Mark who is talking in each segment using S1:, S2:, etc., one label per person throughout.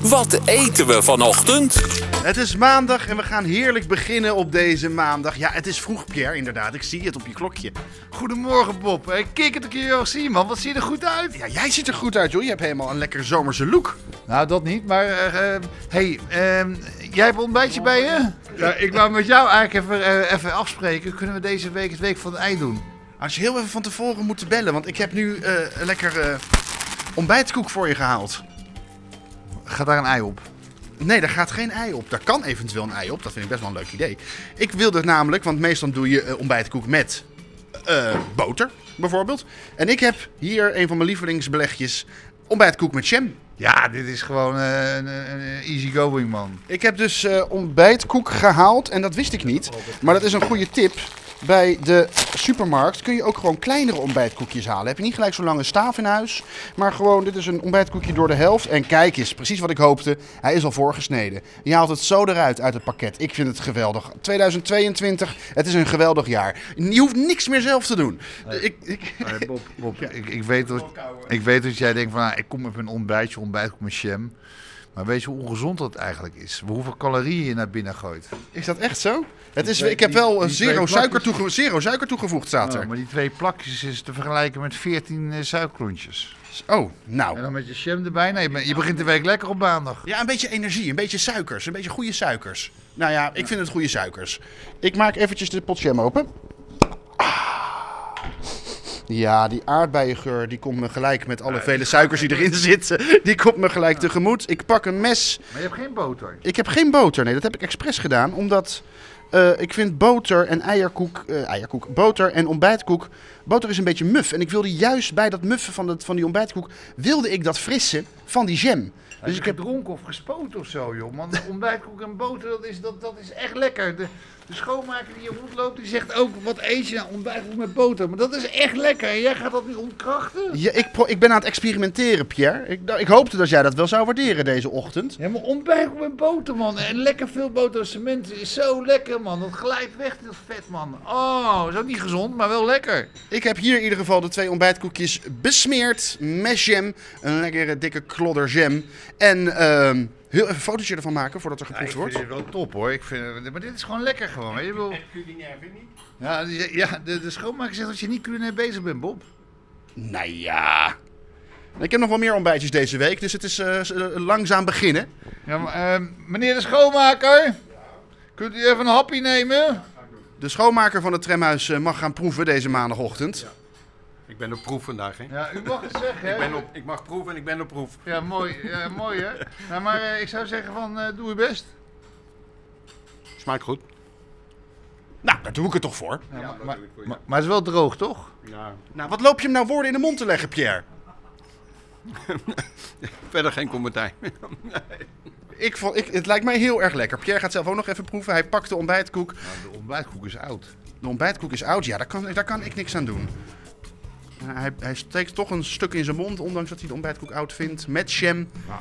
S1: Wat eten we vanochtend?
S2: Het is maandag en we gaan heerlijk beginnen op deze maandag. Ja, het is vroeg, Pierre, inderdaad. Ik zie het op je klokje.
S3: Goedemorgen Bob. Eh, Kijk het een keer joh, zie man, wat zie je er goed uit?
S2: Ja, jij ziet er goed uit, joh. Je hebt helemaal een lekker zomerse look.
S3: Nou, dat niet, maar eh, eh, hey, ehm, jij hebt ontbijtje bij je? Ja, ik wou met jou eigenlijk even, eh, even afspreken. Kunnen we deze week het week van het ei doen?
S2: Als je heel even van tevoren moet bellen, want ik heb nu eh, een lekker eh, ontbijtkoek voor je gehaald.
S3: Gaat daar een ei op?
S2: Nee, daar gaat geen ei op. Daar kan eventueel een ei op. Dat vind ik best wel een leuk idee. Ik wilde namelijk, want meestal doe je eh, ontbijtkoek met eh, boter, bijvoorbeeld. En ik heb hier een van mijn lievelingsbelegjes. Ontbijtkoek met jam.
S3: Ja, dit is gewoon eh, een, een, een easygoing man.
S2: Ik heb dus eh, ontbijtkoek gehaald en dat wist ik niet. Maar dat is een goede tip. Bij de supermarkt kun je ook gewoon kleinere ontbijtkoekjes halen. Heb je niet gelijk zo'n lange staaf in huis. Maar gewoon, dit is een ontbijtkoekje door de helft. En kijk eens, precies wat ik hoopte. Hij is al voorgesneden. Je haalt het zo eruit uit het pakket. Ik vind het geweldig. 2022, het is een geweldig jaar. Je hoeft niks meer zelf te doen. Ik, ik,
S3: Hey, Bob, Bob ik, ik, weet dat, ik weet dat jij denkt van, nou, ik kom met mijn ontbijtje, ontbijt ik met jam. Maar weet je hoe ongezond dat eigenlijk is? Hoeveel calorieën je naar binnen gooit?
S2: is dat echt zo? Het is,
S3: twee-
S2: ik heb
S3: die-
S2: wel
S3: die
S2: eh,
S3: twee
S2: zero
S3: plakjes.
S2: suiker, toege, zero suiker toegevoegd, staat
S3: Nou,
S2: er.
S3: maar die twee plakjes is te vergelijken met 14 eh, suikerklontjes.
S2: Oh, nou.
S3: En dan met je jam erbij. Nee, maar je begint de week lekker op maandag.
S2: Ja, een beetje energie, een beetje suikers, een beetje goede suikers. Nou ja, ik vind het goede suikers. Ik maak eventjes de pot jam open. Ah. Ja, die aardbeiengeur die komt me gelijk met alle vele suikers die erin zitten. Die komt me gelijk tegemoet. Ik pak een mes.
S3: Maar je hebt geen boter.
S2: Ik heb geen boter. Nee, dat heb ik expres gedaan. Omdat eh, ik vind boter en eierkoek, eh, eierkoek, boter en ontbijtkoek. Boter is een beetje muf. En ik wilde juist bij dat muffen van, dat, van die ontbijtkoek. wilde ik dat frisse van die jam.
S3: Dus ik heb dronken of gespoten of zo, joh. Man, ontbijtkoek en boter, dat is, dat, dat is echt lekker. De, de schoonmaker die je rondloopt, die zegt ook, wat eet je nou? Ontbijtkoek met boter. Maar dat is echt lekker. En jij gaat dat niet ontkrachten.
S2: Ja, ik, pro- ik ben aan het experimenteren, Pierre. Ik, nou, ik hoopte dat jij dat wel zou waarderen deze ochtend.
S3: Ja, maar ontbijtkoek met boter, man. En lekker veel boter en cement is zo lekker, man. Dat glijdt weg, dat vet, man. Oh, is ook niet gezond, maar wel lekker.
S2: Ik heb hier in ieder geval de twee ontbijtkoekjes besmeerd met jam. Een lekkere dikke klodder jam. En ehm, heel even een fotootje ervan maken voordat er geproefd wordt.
S3: dit wel top, hoor. Ik vind, maar dit is gewoon lekker, gewoon. Weet je wel.
S4: culinair, vind je niet?
S3: Ja, die- ja de, de schoonmaker zegt dat je niet culinair bezig bent, Bob.
S2: Nou ja. Ik heb nog wel meer ontbijtjes deze week, dus het is eh, s- eh, langzaam beginnen.
S3: Ja, maar, eh, meneer de schoonmaker, kunt u even een hapje nemen?
S2: De schoonmaker van het tramhuis eh, mag gaan proeven deze maandagochtend.
S4: Ik ben op proef vandaag, hè?
S3: Ja, u mag het zeggen.
S4: Ik,
S3: hè?
S4: ben op, ik mag proeven en ik ben op proef.
S3: Ja, mooi, ja, mooi hè. Nou, maar eh, ik zou zeggen van, eh, doe uw best.
S4: Smaakt goed.
S2: Nou, daar doe ik het toch voor.
S3: Ja, maar,
S4: dat
S3: maar,
S4: doe ik voor je.
S3: maar, maar het is wel droog, toch?
S4: Ja.
S2: Nou, wat loop je hem nou woorden in de mond te leggen, Pierre?
S4: Verder geen commentaar.
S2: Ik vond, ik, het lijkt mij heel erg lekker. Pierre gaat zelf ook nog even proeven. Hij pakt de ontbijtkoek.
S3: de ontbijtkoek is oud.
S2: De ontbijtkoek is oud, ja, daar kan, daar kan ik niks aan doen. Maar Hij, hij steekt toch een stuk in zijn mond, ondanks dat hij de ontbijtkoek oud vindt. Met jam.
S3: Dat Nou,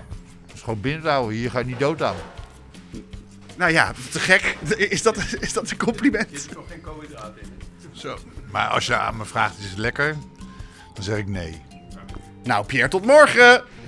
S3: is gewoon binnen te houden, hier ga je niet dood aan.
S2: Nou ja, te gek. Is dat, is dat een compliment?
S4: nog geen koolhydraten in.
S3: Zo. Maar als je aan me vraagt, is het lekker? Dan zeg ik nee.
S2: Nou, Pierre, tot morgen!